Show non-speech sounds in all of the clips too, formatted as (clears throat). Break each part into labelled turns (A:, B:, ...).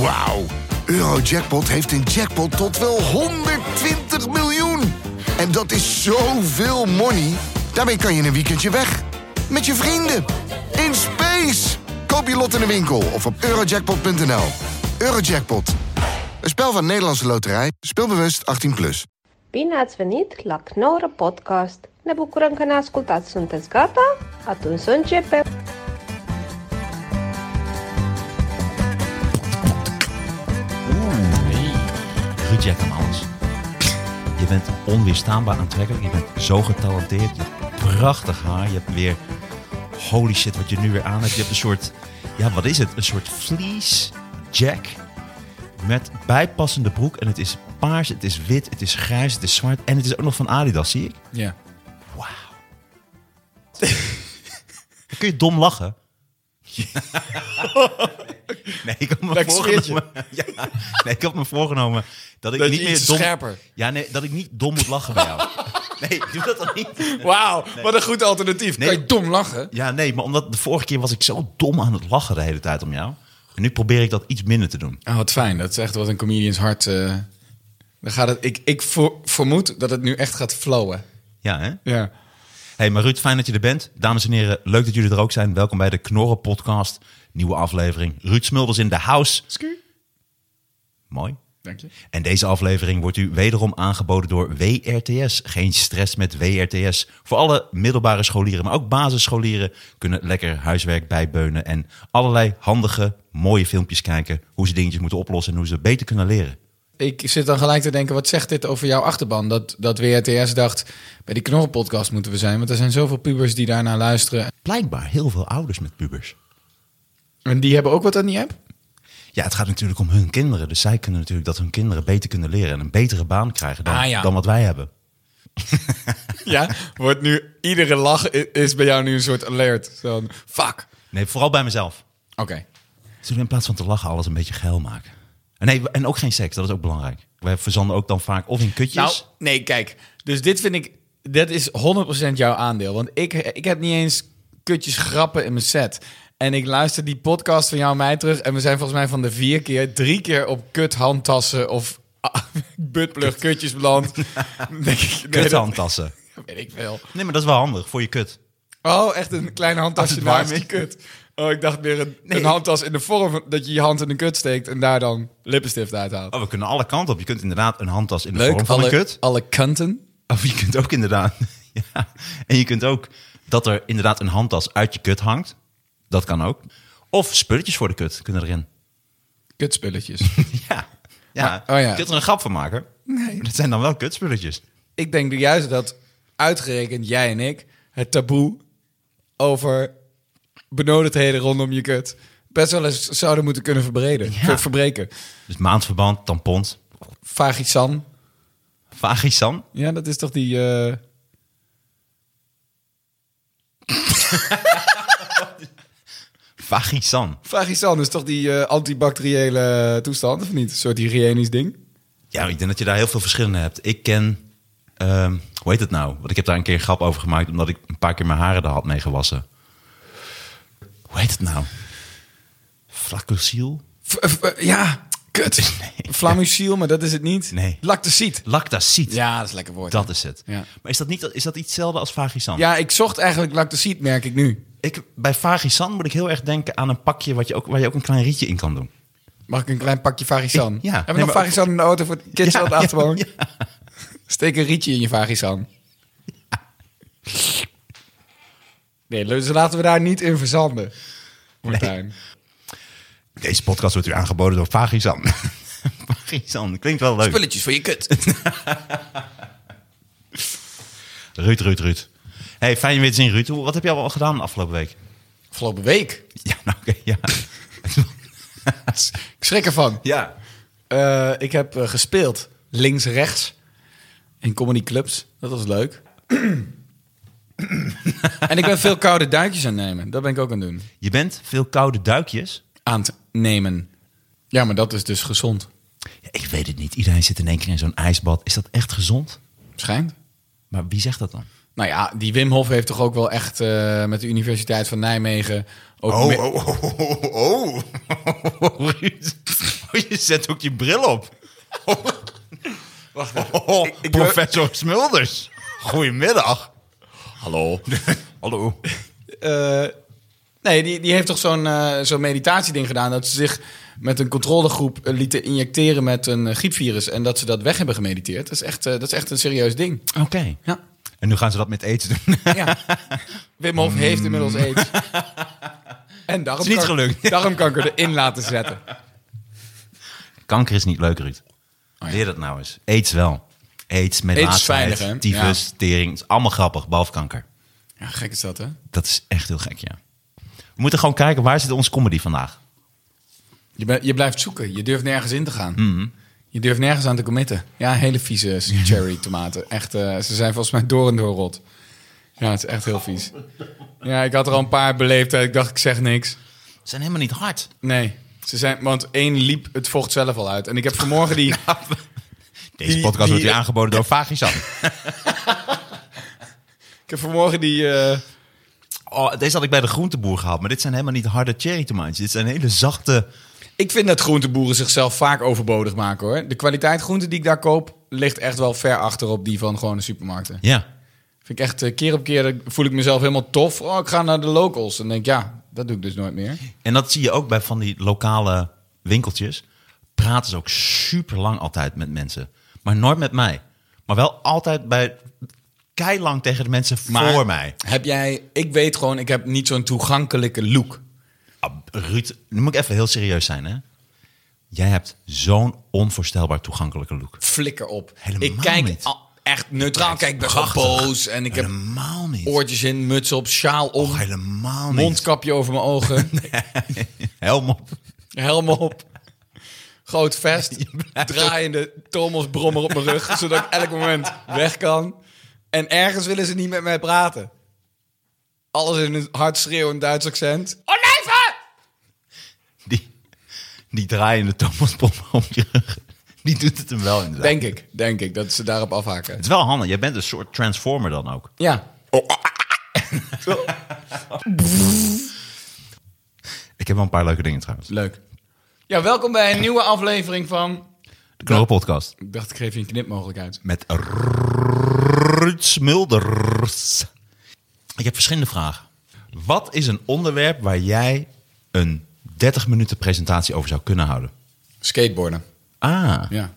A: Wauw. Eurojackpot heeft een jackpot tot wel 120 miljoen. En dat is zoveel money. Daarmee kan je in een weekendje weg. Met je vrienden. In space. Koop je lot in de winkel of op eurojackpot.nl. Eurojackpot. Een spel van Nederlandse Loterij. Speelbewust 18+. Plus.
B: Bine ați venit la Knorr Podcast! Ne bucurăm că ne ascultați. Sunteți gata? Atunci să începem!
C: Nee. Ruud, jij kan alles. Je bent onweerstaanbaar aantrekkelijk. Je bent zo getalenteerd. Je hebt prachtig haar. Je hebt weer... Holy shit, wat je nu weer aan hebt. Je hebt een soort... Ja, wat is het? Een soort fleece jack met bijpassende broek. En het is paars, het is wit, het is grijs, het is zwart. En het is ook nog van Adidas, zie ik.
D: Ja.
C: Dan kun je dom
D: (laughs)
C: lachen. Nee, ik had me
D: Lekker
C: voorgenomen. (laughs) Ja, nee, ik had me voorgenomen dat ik
D: Dat je
C: niet meer
D: iets
C: dom.
D: scherper.
C: Ja, nee, dat ik niet dom moet lachen bij
D: (laughs)
C: jou. Nee, doe dat dan niet.
D: Wauw, wat een goed alternatief.
C: Nee.
D: Kan je dom lachen?
C: Ja, nee, maar omdat de vorige keer was ik zo dom aan het lachen de hele tijd om jou. En nu probeer ik dat iets minder te doen.
D: Ah, wat fijn. Dat is echt wat een comedians hart... eh, dan gaat het, ik ik vo- vermoed dat het nu echt gaat flowen.
C: Ja, hè?
D: Ja.
C: Hey, maar Ruud, fijn dat je er bent. Dames en heren, leuk dat jullie er ook zijn. Welkom bij de Knorren Podcast. Nieuwe aflevering. Ruud Smulders in de house.
D: Sku.
C: Mooi.
D: Dank je.
C: En deze aflevering wordt u wederom aangeboden door WRTS. Geen stress met WRTS. Voor alle middelbare scholieren, maar ook basisscholieren kunnen lekker huiswerk bijbeunen en allerlei handige, mooie filmpjes kijken hoe ze dingetjes moeten oplossen en hoe ze beter kunnen leren.
D: Ik zit dan gelijk te denken, wat zegt dit over jouw achterban? Dat, dat WRTS dacht, bij die knorrenpodcast moeten we zijn. Want er zijn zoveel pubers die daarnaar luisteren.
C: Blijkbaar heel veel ouders met pubers.
D: En die hebben ook wat aan die app?
C: Ja, het gaat natuurlijk om hun kinderen. Dus zij kunnen natuurlijk dat hun kinderen beter kunnen leren en een betere baan krijgen dan,
D: Ah, ja.
C: dan wat wij hebben.
D: Ja, wordt nu... Iedere lach i- is bij jou nu een soort alert. Zo van, fuck.
C: Nee, vooral bij mezelf.
D: Oké.
C: Zullen we Dus in plaats van te lachen alles een beetje geil maken? En, nee, en ook geen seks, dat is ook belangrijk. Wij verzanden ook dan vaak of in
D: Nou,
C: kutjes.
D: nee, kijk. Dus dit vind ik... Dit is 100% jouw aandeel. Want ik, ik heb niet eens kutjes grappen in mijn set. En ik luister die podcast van jou en mij terug. En we zijn volgens mij van de vier keer... drie keer op kut handtassen of... (laughs) ah, buttplug
C: (laughs)
D: kutjes beland. Dan denk ik, nee,
C: Kuthandtassen.
D: dat weet ik veel.
C: Nee, maar dat is wel handig voor je kut.
D: Oh, echt een klein handtasje
C: Als het warm
D: naast
C: is.
D: je kut. Oh, ik dacht meer een, een handtas in de vorm... van- dat je je hand in de kut steekt... en daar dan lippenstift uithaalt.
C: Oh, we kunnen alle kanten op. Je kunt inderdaad een handtas in de vorm van
D: alle,
C: een kut.
D: alle kanten.
C: Of je kunt ook inderdaad... (laughs) ja. En je kunt ook dat er inderdaad een handtas uit je kut hangt. Dat kan ook. Of spulletjes voor de kut kunnen erin. (laughs)
D: Kutspulletjes.
C: Ja. Ja.
D: Maar- oh ja.
C: Je kunt er een grap van maken. Nee. Maar dat zijn dan wel kutspulletjes.
D: ik denk juist dat uitgerekend jij en ik het taboe over benodigdheden rondom je kut best wel eens zouden moeten kunnen verbreden,
C: Ja.
D: ver- verbreken.
C: Dus maandverband, tampons,
D: Vagisan,
C: vagisan.
D: ja, dat is toch die. eh,
C: Vagisan.
D: Vagisan is toch die eh, antibacteriële toestand, of niet? Een soort hygiënisch ding.
C: Ja, ik denk dat je daar heel veel verschillende hebt. Ik ken... ehm, hoe heet het nou? Want ik heb daar een keer een grap over gemaakt... omdat ik een paar keer mijn haren er had mee gewassen. Hoe heet het nou? Flacosiel?
D: V- v- ja, kut.
C: (laughs) Nee.
D: Flamuciel, maar dat is het niet.
C: Nee.
D: Lactacid.
C: Lactacid.
D: Ja, dat is lekker woord.
C: Dat is het.
D: Ja.
C: Maar is dat, niet, is dat iets hetzelfde als vagisan?
D: Ja, ik zocht eigenlijk lactacid, merk ik nu.
C: Ik, bij vagisan moet ik heel erg denken aan een pakje... Wat je ook, waar je ook een klein rietje in kan doen.
D: Mag ik een klein pakje Varisan?
C: Ja.
D: Hebben we
C: Nee,
D: nog
C: maar-
D: Varisan in de auto voor de kids
C: (laughs) Ja,
D: op de
C: ja,
D: achterbank? Steek een rietje in je Varisan. Nee, dus laten we daar niet in verzanden. Martijn.
C: Deze podcast wordt u aangeboden door Vagisan. (laughs) Vagisan, klinkt wel leuk.
D: Spulletjes voor je kut.
C: Ruud, Ruud, Ruud. Hey, fijn je weer te zien, Ruud. Hoe- Wat heb jij al gedaan de afgelopen week?
D: Afgelopen week.
C: Ja, nou, oké, ja. (laughs)
D: Ik schrik ervan.
C: ja.
D: Eh, ik heb eh, gespeeld links-rechts in comedyclubs. Dat was leuk. (clears throat) en ik ben veel koude duikjes aan het nemen. Dat ben ik ook aan het doen.
C: Je bent veel koude duikjes.
D: Aan het nemen. Ja, maar dat is dus gezond.
C: Ja, ik weet het niet. Iedereen zit in één keer in zo'n ijsbad. Is dat echt gezond?
D: Schijnt.
C: Maar wie zegt dat dan?
D: Nou ja, die Wim Hof heeft toch ook wel echt eh, met de
E: Oh,
D: Oh, Universiteit van Nijmegen... Ook me-
C: oh, (laughs) oh, oh, oh. Ruud. je zet ook je bril op.
E: Wacht
C: Oh,
E: ik-
C: professor Smulders. Goedemiddag. (laughs)
E: Hallo. Hallo.
D: Eh, nee, die, die heeft toch zo'n eh, zo'n meditatieding gedaan. Dat ze zich met een controlegroep eh, lieten injecteren met een eh, griepvirus. En dat ze dat weg hebben gemediteerd. Dat is echt, eh, dat is echt een serieus ding.
C: Oké.
D: Ja.
C: En nu gaan ze dat met aids doen.
D: ja. (laughs) Wim Hof heeft inmiddels aids. En daarom
C: Mm. Is niet gelukt.
D: Darmkanker erin laten zetten.
C: Kanker is niet leuk, Ruud.
D: Oh ja.
C: Leer dat nou eens. Aids wel. Aids, met
D: Aids is veilig, hè?
C: tyfus, tering. Het is allemaal grappig, behalve kanker.
D: Ja, gek is dat, hè?
C: Dat is echt heel gek, ja. We moeten gewoon kijken, waar zit ons comedy vandaag?
D: Je, bent- je blijft zoeken. Je durft nergens in te gaan. Je durft nergens aan te committen. Ja, hele vieze cherry tomaten. Echt, eh, ze zijn volgens mij door en door rot. Ja, het is echt heel vies. Ja, ik had er al een paar beleefd. en Ik dacht, ik zeg niks.
C: Ze zijn helemaal niet hard.
D: Nee, ze zijn, want één liep het vocht zelf al uit. En ik heb vanmorgen die...
C: Deze
D: Die-
C: podcast wordt
D: die-
C: weer aangeboden
D: (laughs)
C: door Vagisan.
D: Ik heb vanmorgen die... eh,
C: Oh, deze had ik bij de groenteboer gehad, maar dit zijn helemaal niet harde cherry tomaatjes. Dit zijn hele zachte...
D: Ik vind dat groenteboeren zichzelf vaak overbodig maken, hoor. De kwaliteit groente die ik daar koop... ligt echt wel ver achter op die van gewone supermarkten.
C: Ja.
D: Vind ik echt eh, keer op keer dat ik- voel ik mezelf helemaal tof. Oh, ik ga naar de locals. En denk ik, ja, dat doe ik dus nooit meer.
C: En dat zie je ook bij van die lokale winkeltjes. Praten ze ook super lang altijd met mensen. Maar nooit met mij. Maar wel altijd bij keilang tegen de mensen
D: Maar
C: voor mij.
D: Heb jij, ik weet gewoon, ik heb niet zo'n toegankelijke look.
C: Ah, Ruud, nu moet ik even heel serieus zijn, hè? Jij hebt zo'n onvoorstelbaar toegankelijke look.
D: Flikker op.
C: Helemaal
D: ik kijk
C: niet.
D: al- echt neutraal. Kijk, ik ben
C: Prachtig.
D: gewoon boos. En ik heb
C: helemaal niet.
D: oortjes in, muts op, sjaal op,
C: Och, helemaal niet.
D: mondkapje over mijn
C: (laughs)
D: ogen,
C: Helm op.
D: helm op. (laughs) Groot vest, draaiende Thomas-brommer op mijn rug, zodat ik elk moment weg kan. En ergens willen ze niet met mij praten. Alles in een hard schreeuwend Duits accent.
C: Die, die draaiende Thomas-bom om je rug. Die doet het hem wel inderdaad.
D: Denk ik, denk ik, dat ze daarop afhaken.
C: Het is wel handig. Jij bent een soort transformer dan ook.
D: Ja.
C: Ik heb wel een paar leuke dingen trouwens.
D: Leuk. Ja, welkom bij een nieuwe aflevering van...
C: De Knorren Podcast.
D: Ik dacht, ik geef je een knipmogelijkheid.
C: Met Ruud Smulders. Ik heb verschillende vragen. Wat is een onderwerp waar jij een 30 minuten presentatie over zou kunnen houden?
D: Skateboarden.
C: Ah,
D: Ja.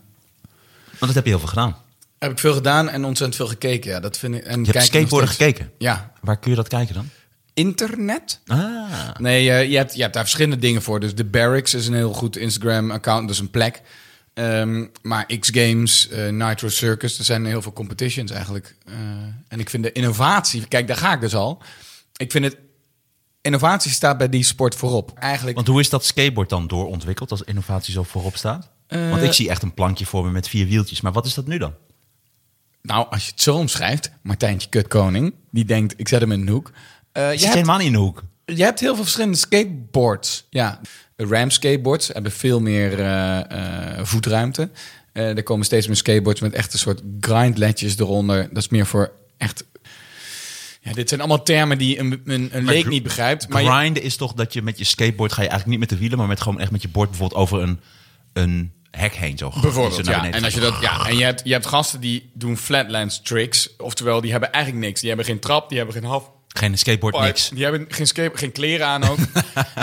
C: want dat heb je heel veel gedaan.
D: Heb ik veel gedaan en ontzettend veel gekeken. Ja, dat vind ik... En
C: Je hebt skateboarden gekeken.
D: Ja.
C: Waar kun je dat kijken dan?
D: Internet?
C: Ah,
D: Nee, eh, je, hebt, je hebt daar verschillende dingen voor. Dus de Barracks is een heel goed Instagram-account, dus een plek. Ehm, maar X-Games, eh, Nitro Circus, er zijn heel veel competitions eigenlijk. Eh, en ik vind de innovatie... Kijk, daar ga ik dus al. Ik vind het... Innovatie staat bij die sport voorop. Eigenlijk...
C: want hoe is dat skateboard dan doorontwikkeld als innovatie zo voorop staat?
D: Eh,
C: Want ik zie echt een plankje voor me met vier wieltjes. Maar wat is dat nu dan?
D: Nou, als je het zo omschrijft, Martijntje Kutkoning, die denkt, ik zet hem in een hoek. Eh,
C: Je
D: je,
C: zit
D: hebt,
C: helemaal niet in de hoek.
D: je hebt heel veel verschillende skateboards. Ja, Ram skateboards hebben veel meer eh, eh, voetruimte. Eh, er komen steeds meer skateboards met echt een soort grindletjes eronder. Dat is meer voor echt... Ja, dit zijn allemaal termen die een, een, een leek
C: gr-
D: niet begrijpt. Maar je-
C: Grinden is toch dat je met je skateboard ga je eigenlijk niet met de wielen, maar met gewoon echt met je bord bijvoorbeeld over een, een hek heen zo.
D: Bijvoorbeeld,
C: Zo naar
D: ja.
C: beneden
D: En, als je
C: gaat.
D: dat, ja. en je, hebt, je hebt gasten die doen flatlands tricks. Oftewel, die hebben eigenlijk niks. Die hebben geen trap, die hebben geen half,
C: Geen skateboard,
D: Park.
C: niks.
D: Die hebben geen, scape, geen kleren aan
C: (laughs)
D: ook.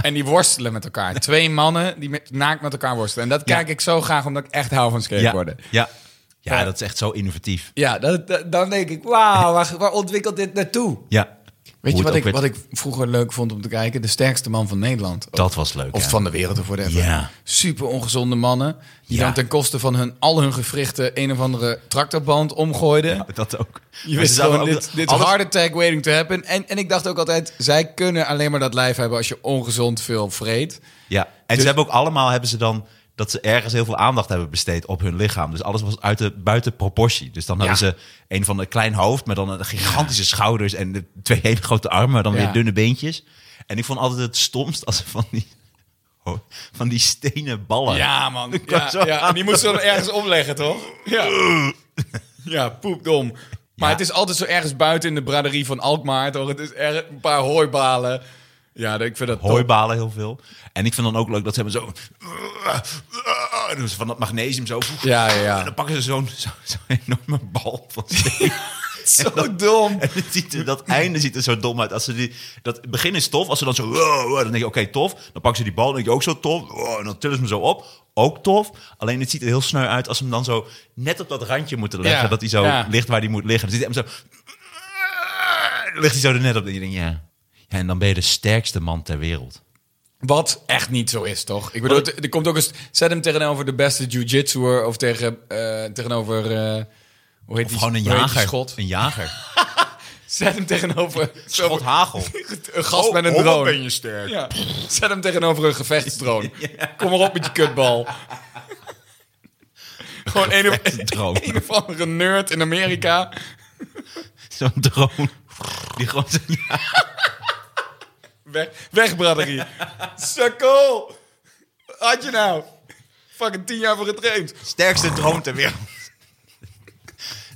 D: en die worstelen met elkaar. Twee mannen die met, naakt met elkaar worstelen. En dat
C: Ja.
D: kijk ik zo graag omdat ik echt hou van
C: Ja,
D: skateboarden. Ja.
C: ja. ja,
D: Ja.
C: dat is echt zo innovatief.
D: dat, dat- dan denk ik, wauw, waar, waar ontwikkelt dit naartoe?
C: Ja.
D: Weet
C: Hoe
D: je
C: het
D: wat
C: ook
D: ik,
C: werd-
D: wat ik vroeger leuk vond om te kijken? De sterkste man van Nederland. Of-
C: Dat was leuk,
D: Of
C: ja.
D: van de wereld of whatever.
C: Ja. (laughs)
D: Super ongezonde mannen. Die
C: Ja.
D: dan ten koste van hun, al hun gewrichten een of andere tractorband omgooiden.
C: Dat ook.
D: Je
C: Maar ze
D: wist
C: zouden
D: gewoon,
C: ook-
D: dit, dit
C: alles-
D: heart attack waiting to happen. En, en ik dacht ook altijd, zij kunnen alleen maar dat lijf hebben als je ongezond veel vreet.
C: Ja, en
D: Dus-
C: ze hebben ook allemaal hebben ze dan dat ze ergens heel veel aandacht hebben besteed op hun lichaam. Dus alles was uit de, buiten proportie. Dus dan
D: Ja.
C: hebben ze een van een klein hoofd, maar dan een gigantische schouders en de twee hele grote armen, maar dan
D: Ja.
C: weer dunne beentjes. En ik vond altijd het stomst als ze van die, (laughs) oh, van die stenen ballen.
D: Ja, man.
C: kwam
D: Ja,
C: zo
D: ja.
C: aan.
D: En die moest ze dan ergens omleggen, toch?
C: (laughs)
D: Ja, ja poepdom.
C: Ja.
D: Maar het is altijd zo ergens buiten in de braderie van Alkmaar, toch? Het is er, een paar hooibalen. Ja, ik vind dat top.
C: Hooibalen heel veel. En ik vind dan ook leuk dat ze hebben zo... en doen ze van dat magnesium zo.
D: Ja, ja, ja.
C: En dan pakken ze zo'n zo, zo'n enorme bal
D: (laughs)
C: van steen.
D: (laughs) Zo dom.
C: En het ziet er- dat einde ziet er zo dom uit. Als ze die, dat begin is tof. Als ze dan zo... wow, wow, dan denk je, oké, tof. Dan pakken ze die bal, dan denk je, ook zo tof. Wow, en dan tillen ze hem zo op. Ook tof. Alleen het ziet er heel sneu uit als ze hem dan zo net op dat randje moeten leggen.
D: Ja,
C: Dat hij zo
D: ja.
C: ligt waar hij moet liggen. Dan zit hij hem zo... Dan ligt hij zo er net op. En je denkt, ja. ja. En dan ben je de sterkste man ter wereld.
D: Wat echt niet zo is, toch? Ik bedoel, er komt ook eens... Zet hem tegenover de beste jiu-jitsuer of tegen, eh, tegenover... eh, hoe heet
C: Of
D: die,
C: gewoon een
D: hoe heet die
C: jager.
D: schot?
C: Een
D: (laughs)
C: jager.
D: Zet hem tegenover...
C: (laughs) Schot hagel.
D: (laughs) Een gast met een
C: oh, wat
D: drone.
C: ben je sterk.
D: Ja. Zet hem tegenover een
C: (laughs)
D: gevechtsdrone. Kom maar op met je kutbal. Gewoon een of,
C: gevechtsdrone.
D: (laughs) een of andere nerd in Amerika.
C: Zo'n drone. Die gewoon zo- ja.
D: Weg, weg braderie.
C: (laughs)
D: Sukkel. Had je nou? Fucking tien jaar voor getraind.
C: sterkste drone ter wereld. (laughs)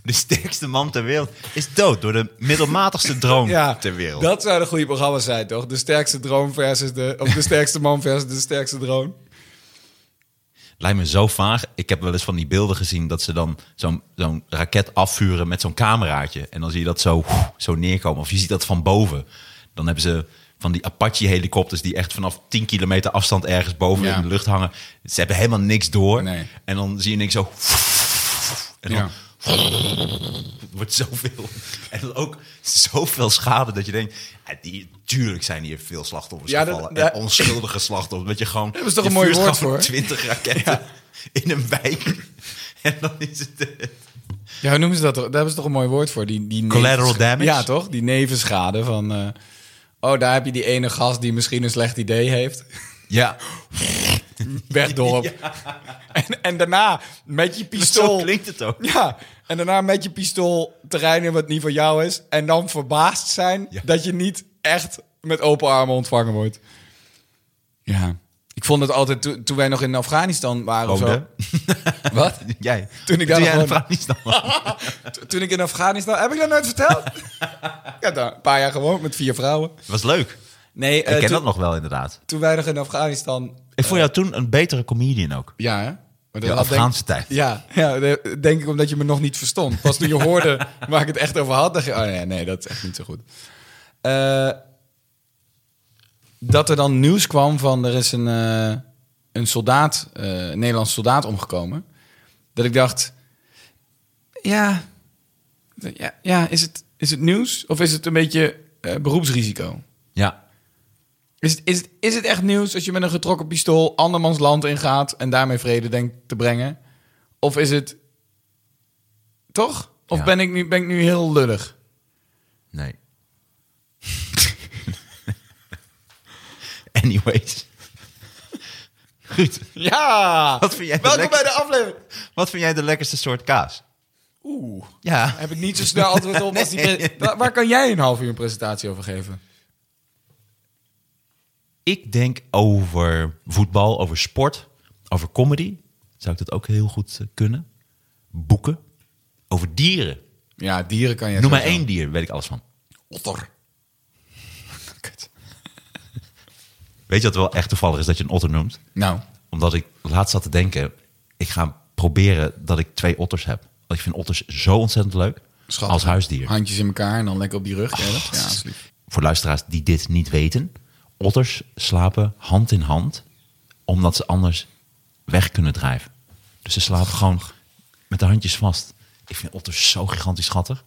C: De sterkste man ter wereld is dood door de middelmatigste
D: (laughs)
C: drone ter wereld.
D: dat zou een goede programma zijn, toch? De sterkste drone versus de... Of de sterkste man versus de sterkste drone.
C: Lijkt me zo vaag. Ik heb wel eens van die beelden gezien dat ze dan zo'n zo'n raket afvuren met zo'n cameraatje. En dan zie je dat zo, zo neerkomen. Of je ziet dat van boven. Dan hebben ze van die Apache-helikopters die echt vanaf 10 kilometer afstand ergens boven
D: Ja.
C: in de lucht hangen. Ze hebben helemaal niks door.
D: Nee.
C: En dan zie je niks zo... En dan
D: Ja.
C: Het wordt zoveel. En dan ook zoveel schade dat je denkt... ja, die, tuurlijk zijn hier veel slachtoffers
D: Ja, dat-
C: gevallen.
D: dat-
C: en onschuldige slachtoffers. Dat je
D: (laughs)
C: gewoon... Dat
D: is toch een mooi woord voor? (laughs)
C: twintig raketten in een wijk. (laughs) En dan is het... eh,
D: Ja, hoe noemen ze dat? toch? Daar hebben ze toch een mooi woord voor? Die, die
C: Collateral
D: nevenscha-
C: damage?
D: Ja, toch? Die nevenschade van... eh, oh, daar heb je die ene gast die misschien een slecht idee heeft. (laughs)
C: (laughs) ja, (laughs)
D: Wegdorp. En, en daarna met je
C: zo
D: pistool...
C: klinkt het ook.
D: Ja, en daarna met je pistool terrein in wat niet van jou is. En dan verbaasd zijn
C: Ja.
D: dat je niet echt met open armen ontvangen wordt. Ja. Ik vond het altijd, toen- toen wij nog in Afghanistan waren of zo...
C: Rode.
D: Wat?
C: (laughs) Jij.
D: Toen ik daar
C: jij
D: nog
C: de vraag niet
D: (laughs)
C: snapte.
D: T- Toen ik in Afghanistan... Heb ik dat nooit
C: (laughs)
D: verteld? ja, daar, een paar jaar gewoond met vier vrouwen.
C: was leuk.
D: Nee, eh,
C: Ik ken
D: toen,
C: dat nog wel inderdaad. Eh,
D: toen wij nog in Afghanistan...
C: Ik vond jou toen een betere comedian ook.
D: Ja, hè? Maar dat
C: Ja,
D: had denk-
C: Afghaanse tijd.
D: Ja, ja, de- denk ik omdat je me nog niet verstond. Pas toen je
C: (laughs)
D: hoorde waar ik het echt over had, dacht je... Oh nee, nee, dat is echt niet zo goed. Eh, dat er dan nieuws kwam van... Er is een, eh, een soldaat, eh, een Nederlands soldaat omgekomen. Dat ik dacht... Ja, ja, ja is, het, is het nieuws? Of is het een beetje eh, beroepsrisico?
C: Ja.
D: Is het, is, het, is het echt nieuws als je met een getrokken pistool andermans land ingaat en daarmee vrede denkt te brengen? Of is het. Toch? Of
C: Ja.
D: ben, ik nu, ben ik nu heel lullig?
C: Nee. (laughs) Anyways. Goed.
D: Ja!
C: Wat vind jij de
D: Welkom bij
C: lekkerste-
D: de aflevering!
C: Wat vind jij de lekkerste soort kaas?
D: Oeh,
C: Ja.
D: heb ik niet zo snel antwoord op. als die pre-
C: Nee.
D: Wa- Waar kan jij een half uur een presentatie over geven?
C: Ik denk over voetbal, over sport, over comedy. Zou ik dat ook heel goed eh, kunnen? Boeken. Over dieren.
D: Ja, dieren kan jij.
C: Noem maar
D: sowieso.
C: één dier, weet ik alles van.
D: Otter. (laughs) Kut.
C: Weet je wat wel echt toevallig is dat je een otter noemt?
D: Nou,
C: Omdat ik laatst zat te denken, ik ga proberen dat ik twee otters heb. Want ik vind otters zo ontzettend leuk
D: schattig.
C: als huisdier. Oh,
D: Handjes in elkaar en dan lekker op die rug. ja, dat- ja, alsjeblieft.
C: Voor luisteraars die dit niet weten, otters slapen hand in hand omdat ze anders weg kunnen drijven. Dus ze slapen gewoon met de handjes vast. Ik vind otters zo gigantisch schattig.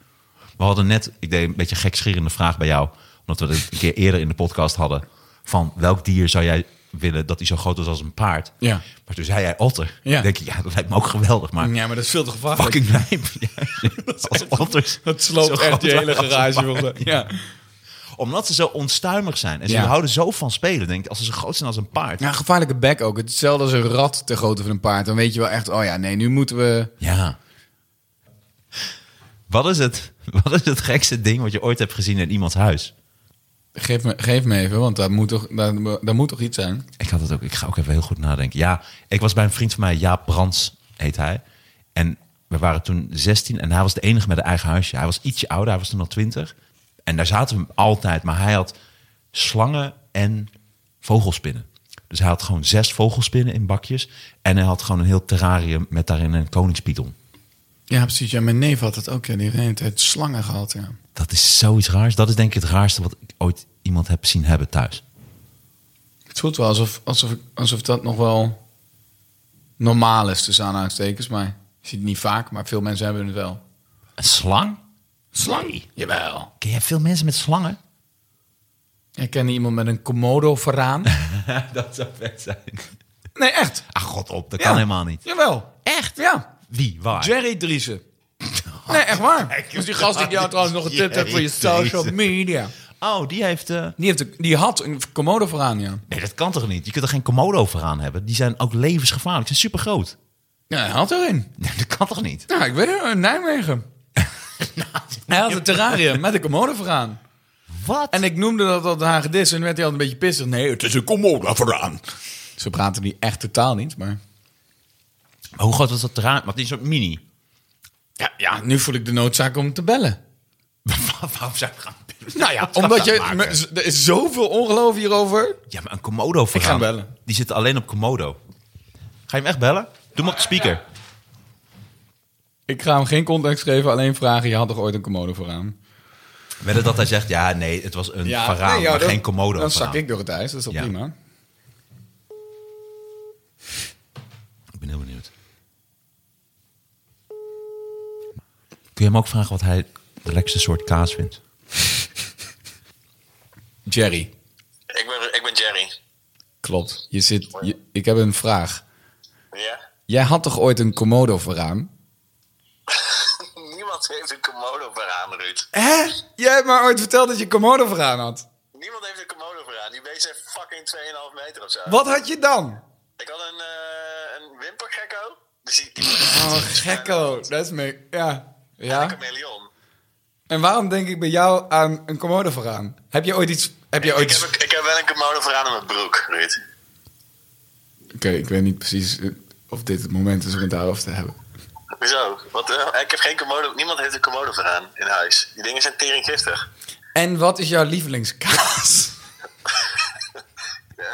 C: We hadden net, ik deed een beetje een gekschierende vraag bij jou, omdat we het een keer eerder in de podcast hadden van welk dier zou jij willen dat hij zo groot was als een paard?
D: Ja.
C: Maar toen zei jij otter.
D: Ja.
C: Ja. denk je, ja, dat lijkt me ook geweldig, maar
D: ja, maar dat is veel te gevaarlijk.
C: fucking lijp. (laughs) Ja, als otters.
D: (laughs) Dat
C: zo
D: sloopt echt
C: groot
D: je hele
C: waren als een
D: garage.
C: paard. (laughs)
D: volgens mij. Ja.
C: Omdat ze zo onstuimig zijn. En ze
D: Ja.
C: houden zo van spelen. Denk ik, als ze zo groot zijn als een paard.
D: Ja, een gevaarlijke bek ook. Hetzelfde als een rat te grootte van een paard. Dan weet je wel echt, oh ja, nee, nu moeten we...
C: Ja. Wat is, het, (laughs) wat is het gekste ding wat je ooit hebt gezien in iemands huis?
D: Geef me, geef me even, want daar moet, toch, daar, daar moet toch iets zijn?
C: Ik had het ook. Ik ga ook even heel goed nadenken. Ja, ik was bij een vriend van mij, Jaap Brands heet hij. En we waren toen 16 en hij was de enige met een eigen huisje. Hij was ietsje ouder, hij was toen al 20. En daar zaten we altijd, maar hij had slangen en vogelspinnen. Dus Dus hij had gewoon zes vogelspinnen in bakjes. En hij had gewoon een heel terrarium met daarin een koningspython.
D: Ja, precies. Ja, mijn neef had het ook. Ja, die heeft de hele tijd slangen gehad. Ja.
C: Dat is zoiets raars. Dat is denk ik het raarste wat ik ooit iemand heb zien hebben thuis.
D: Het voelt wel alsof, alsof, alsof dat nog wel normaal is, tussen aanhalingstekens. Maar je ziet het niet vaak, maar veel mensen hebben het wel.
C: Een slang?
D: Slangie? Jawel.
C: Ken jij veel mensen met slangen?
D: Ik kende iemand met een komodo (laughs) veraan.
C: (laughs) dat zou vet zijn.
D: Nee, echt.
C: Ach, god op. Dat
D: Ja.
C: kan helemaal niet.
D: Jawel. Echt? Ja.
C: Wie? Waar?
D: Jerry (laughs) Driessen. Nee, echt waar. Dus die gast die jou trouwens nog een tip hebt voor je
C: Jerry
D: social media.
C: Oh, die heeft... eh,
D: Die, heeft een- die had een komodo veraan, ja.
C: Nee, dat kan toch niet? Je kunt er geen komodo voor aan hebben? Die zijn ook levensgevaarlijk. Ze zijn super groot.
D: Ja, hij had er een.
C: (laughs) Nee, dat kan toch niet?
D: Nou, ik weet het, in (laughs) Nijmegen. Hij had een terrarium met een komodo veraan.
C: Wat?
D: En ik noemde dat al de hagedis en werd hij al een beetje pissig. Nee, het is een komodo veraan. Ze praten die echt totaal niet, maar...
C: Maar hoe groot was dat terrein? Want die is ook mini.
D: Ja,
C: (laughs)
D: ja, nu voel ik de noodzaak om te bellen.
C: Waarom zou ik gaan bellen?
D: Nou ja, omdat je...
C: maken.
D: me- z- Er is zoveel ongeloof hierover.
C: Ja, maar een komodo voor
D: Ik ga hem bellen.
C: Die zit alleen op komodo. Ga je hem echt bellen? Doe hem op de speaker.
D: Ik ga hem geen context geven, alleen vragen. Je had toch ooit een komodo vooraan?
C: Wedden dat hij zegt, ja, nee, het was een varaan,
D: nee, ja,
C: maar
D: dan-
C: geen komodo
D: Dan
C: varaan.
D: zak ik door het ijs, dat is toch
C: Ja.
D: prima?
C: Ik ben heel benieuwd. Kun je hem ook vragen wat hij de lekkerste soort kaas vindt?
D: Jerry,
F: Ik ben, ik ben Jerry.
D: klopt. Je zit, je- ik heb een vraag.
F: Ja?
D: Jij had toch ooit een komodo vooraan?
F: Niemand heeft een komodo veraan, Ruud.
D: Hè? Jij hebt maar ooit verteld dat je komodo vooraan had.
F: Niemand heeft een komodo veraan. Die beesten zijn fucking 2,5 meter of zo.
D: Wat had je dan?
F: Ik had een, eh een wimpergekko. Dus die, die
D: Oh, gekko. Dat is me... Ja.
F: Een
D: ja.
F: chameleon.
D: En waarom denk ik bij jou aan een komodo vooraan? Heb je ooit iets... Heb je ooit...
F: Ik, heb,
D: Oké,
F: een- ik heb wel een komodo veraan in mijn broek, Ruud.
D: ik weet niet precies eh, of dit het moment is om het daarover te hebben.
F: Hoezo? Wat, eh, ik heb geen komodo... Niemand heeft een komodo veraan in huis. Die dingen zijn teringgiftig.
D: En wat is jouw lievelingskaas?
F: Eh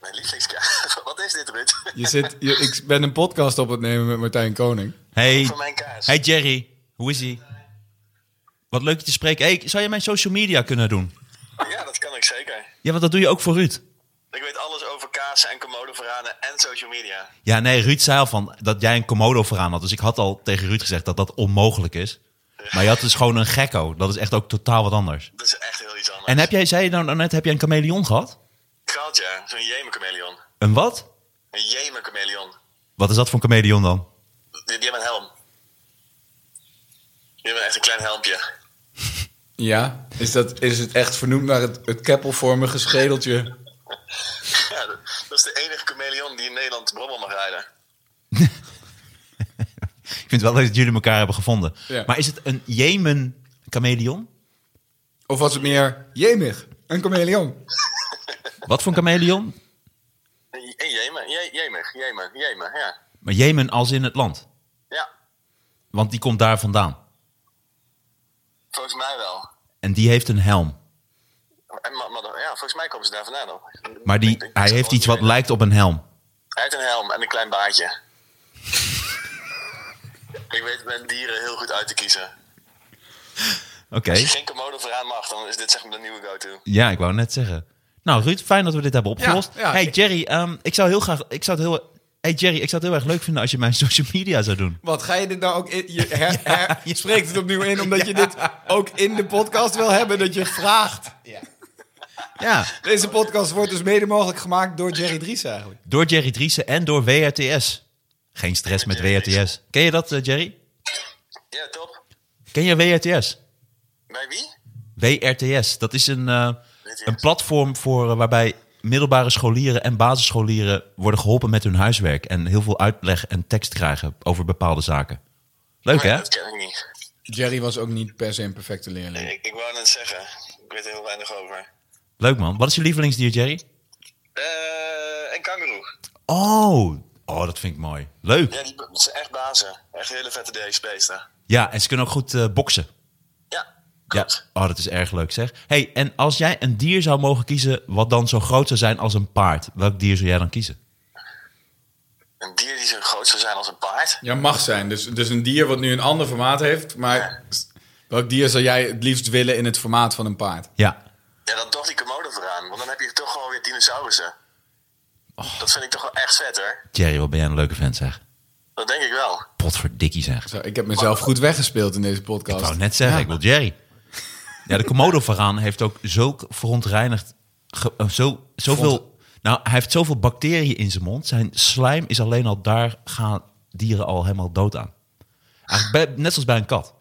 F: mijn lievelingskaas... (laughs) Wat is dit, Ruud?
D: Je zit, je- ik ben een podcast op het nemen met Martijn Koning.
C: Hey,
F: Voor mijn kaas.
C: hey Jerry, hoe is hij? Wat leuk je te spreken. Hey, zou je mijn social media kunnen doen?
F: Ja, dat kan ik zeker.
C: Ja, want dat doe je ook voor Ruud.
F: Ik weet alles over kazen en komodo verraden en social media.
C: Ja, nee, Ruud zei al van dat jij een komodo vooraan had. Dus ik had al tegen Ruud gezegd dat dat onmogelijk is. Maar je had dus gewoon een gekko. Dat is echt ook totaal wat anders.
F: Dat is echt heel iets anders.
C: En heb jij, zei je nou net, heb jij een chameleon gehad?
F: Gehad, ja. Zo'n jemerchameleon.
C: Een wat?
F: Een jemerchameleon.
C: Wat is dat voor een chameleon dan?
F: Die, die hebben een helm. Die hebben echt een klein helmpje. (laughs)
D: Ja, is, dat, is het echt vernoemd naar het, het keppelvormige schedeltje?
F: Ja, dat, dat is de enige chameleon die in Nederland brommel mag rijden.
C: Ik vind wel leuk dat jullie elkaar hebben gevonden.
D: Ja.
C: Maar is het een Jemen chameleon?
D: Of was het meer jemig, een chameleon?
C: Wat voor een chameleon?
F: Een een jemer, je, jemer, jemer, jemer, ja.
C: Maar Jemen als in het land.
F: Ja,
C: Want die komt daar vandaan.
F: volgens mij wel.
C: En die heeft een helm.
F: En, maar, maar- ja, volgens mij komen ze daar vandaan. hoor.
C: Maar
F: Ik
C: die,
F: denk-
C: hij heeft iets wat lijkt op een helm.
F: Hij heeft een helm en een klein baardje. (laughs) ik weet met dieren heel goed uit te kiezen.
C: Oké.
F: Als je geen komodo vooraan mag, dan is dit zeg maar de nieuwe go-to.
C: Ja, ik wou net zeggen. Nou, Ruud, fijn dat we dit hebben opgelost.
D: Ja, ja.
C: hey Jerry, ehm, ik zou heel graag. Ik zou het heel. Hey Jerry, ik zou het heel erg leuk vinden als je mijn (laughs) social media zou doen.
D: Wat, ga je dit nou ook... In, je
C: (laughs)
D: her- her- je spreekt het opnieuw in omdat je dit ook in de podcast wil hebben, dat je vraagt.
C: Ja,
D: Deze podcast wordt dus mede mogelijk gemaakt door Jerry Dries eigenlijk.
C: door Jerry Driessen en door WRTS. Geen stress met WRTS. Ken je dat, eh, Jerry?
F: Ja, top.
C: Ken je WRTS?
F: Bij wie?
C: WRTS, dat is een, eh, een platform voor, eh, waarbij middelbare scholieren en basisscholieren worden geholpen met hun huiswerk. En heel veel uitleg en tekst krijgen over bepaalde zaken. Leuk hè?
F: Dat ken ik niet.
D: Jerry was ook niet per se een perfecte leerling.
F: Ik, ik wou net zeggen, ik weet er heel weinig over.
C: Leuk man. Wat is je lievelingsdier, Jerry?
F: Eh en kangaroo.
C: Oh, oh, dat vind ik mooi. Leuk.
F: Ja, die dat zijn echt bazen. Echt hele vette beesten.
C: Ja, en ze kunnen ook goed eh boksen.
F: Ja,
C: Ja, oh, dat is erg leuk zeg. hey, en als jij een dier zou mogen kiezen wat dan zo groot zou zijn als een paard, welk dier zou jij dan kiezen?
F: Een dier die zo groot zou zijn als een paard.
D: Ja, mag zijn. Dus, dus een dier wat nu een ander formaat heeft. Maar welk dier zou jij het liefst willen in het formaat van een paard?
C: Ja,
F: Ja, dan toch die komodo vooraan. Want dan heb je toch gewoon weer dinosaurussen.
C: Oh.
F: Dat vind ik toch wel echt vet, hoor.
C: Jerry, wat ben jij een leuke vent zeg.
F: Dat denk ik wel.
C: Potverdikkie zeg.
D: Zo, ik heb mezelf goed weggespeeld in deze podcast.
C: Ik wou net zeggen, ik wil Jerry. Ja, de Komodo-varaan heeft ook zulk verontreinigd... ge- eh, zo, zoveel, nou, hij heeft zoveel bacteriën in zijn mond. Zijn slijm is alleen al... Daar gaan dieren al helemaal dood aan. Eigenlijk bij- net zoals bij een kat.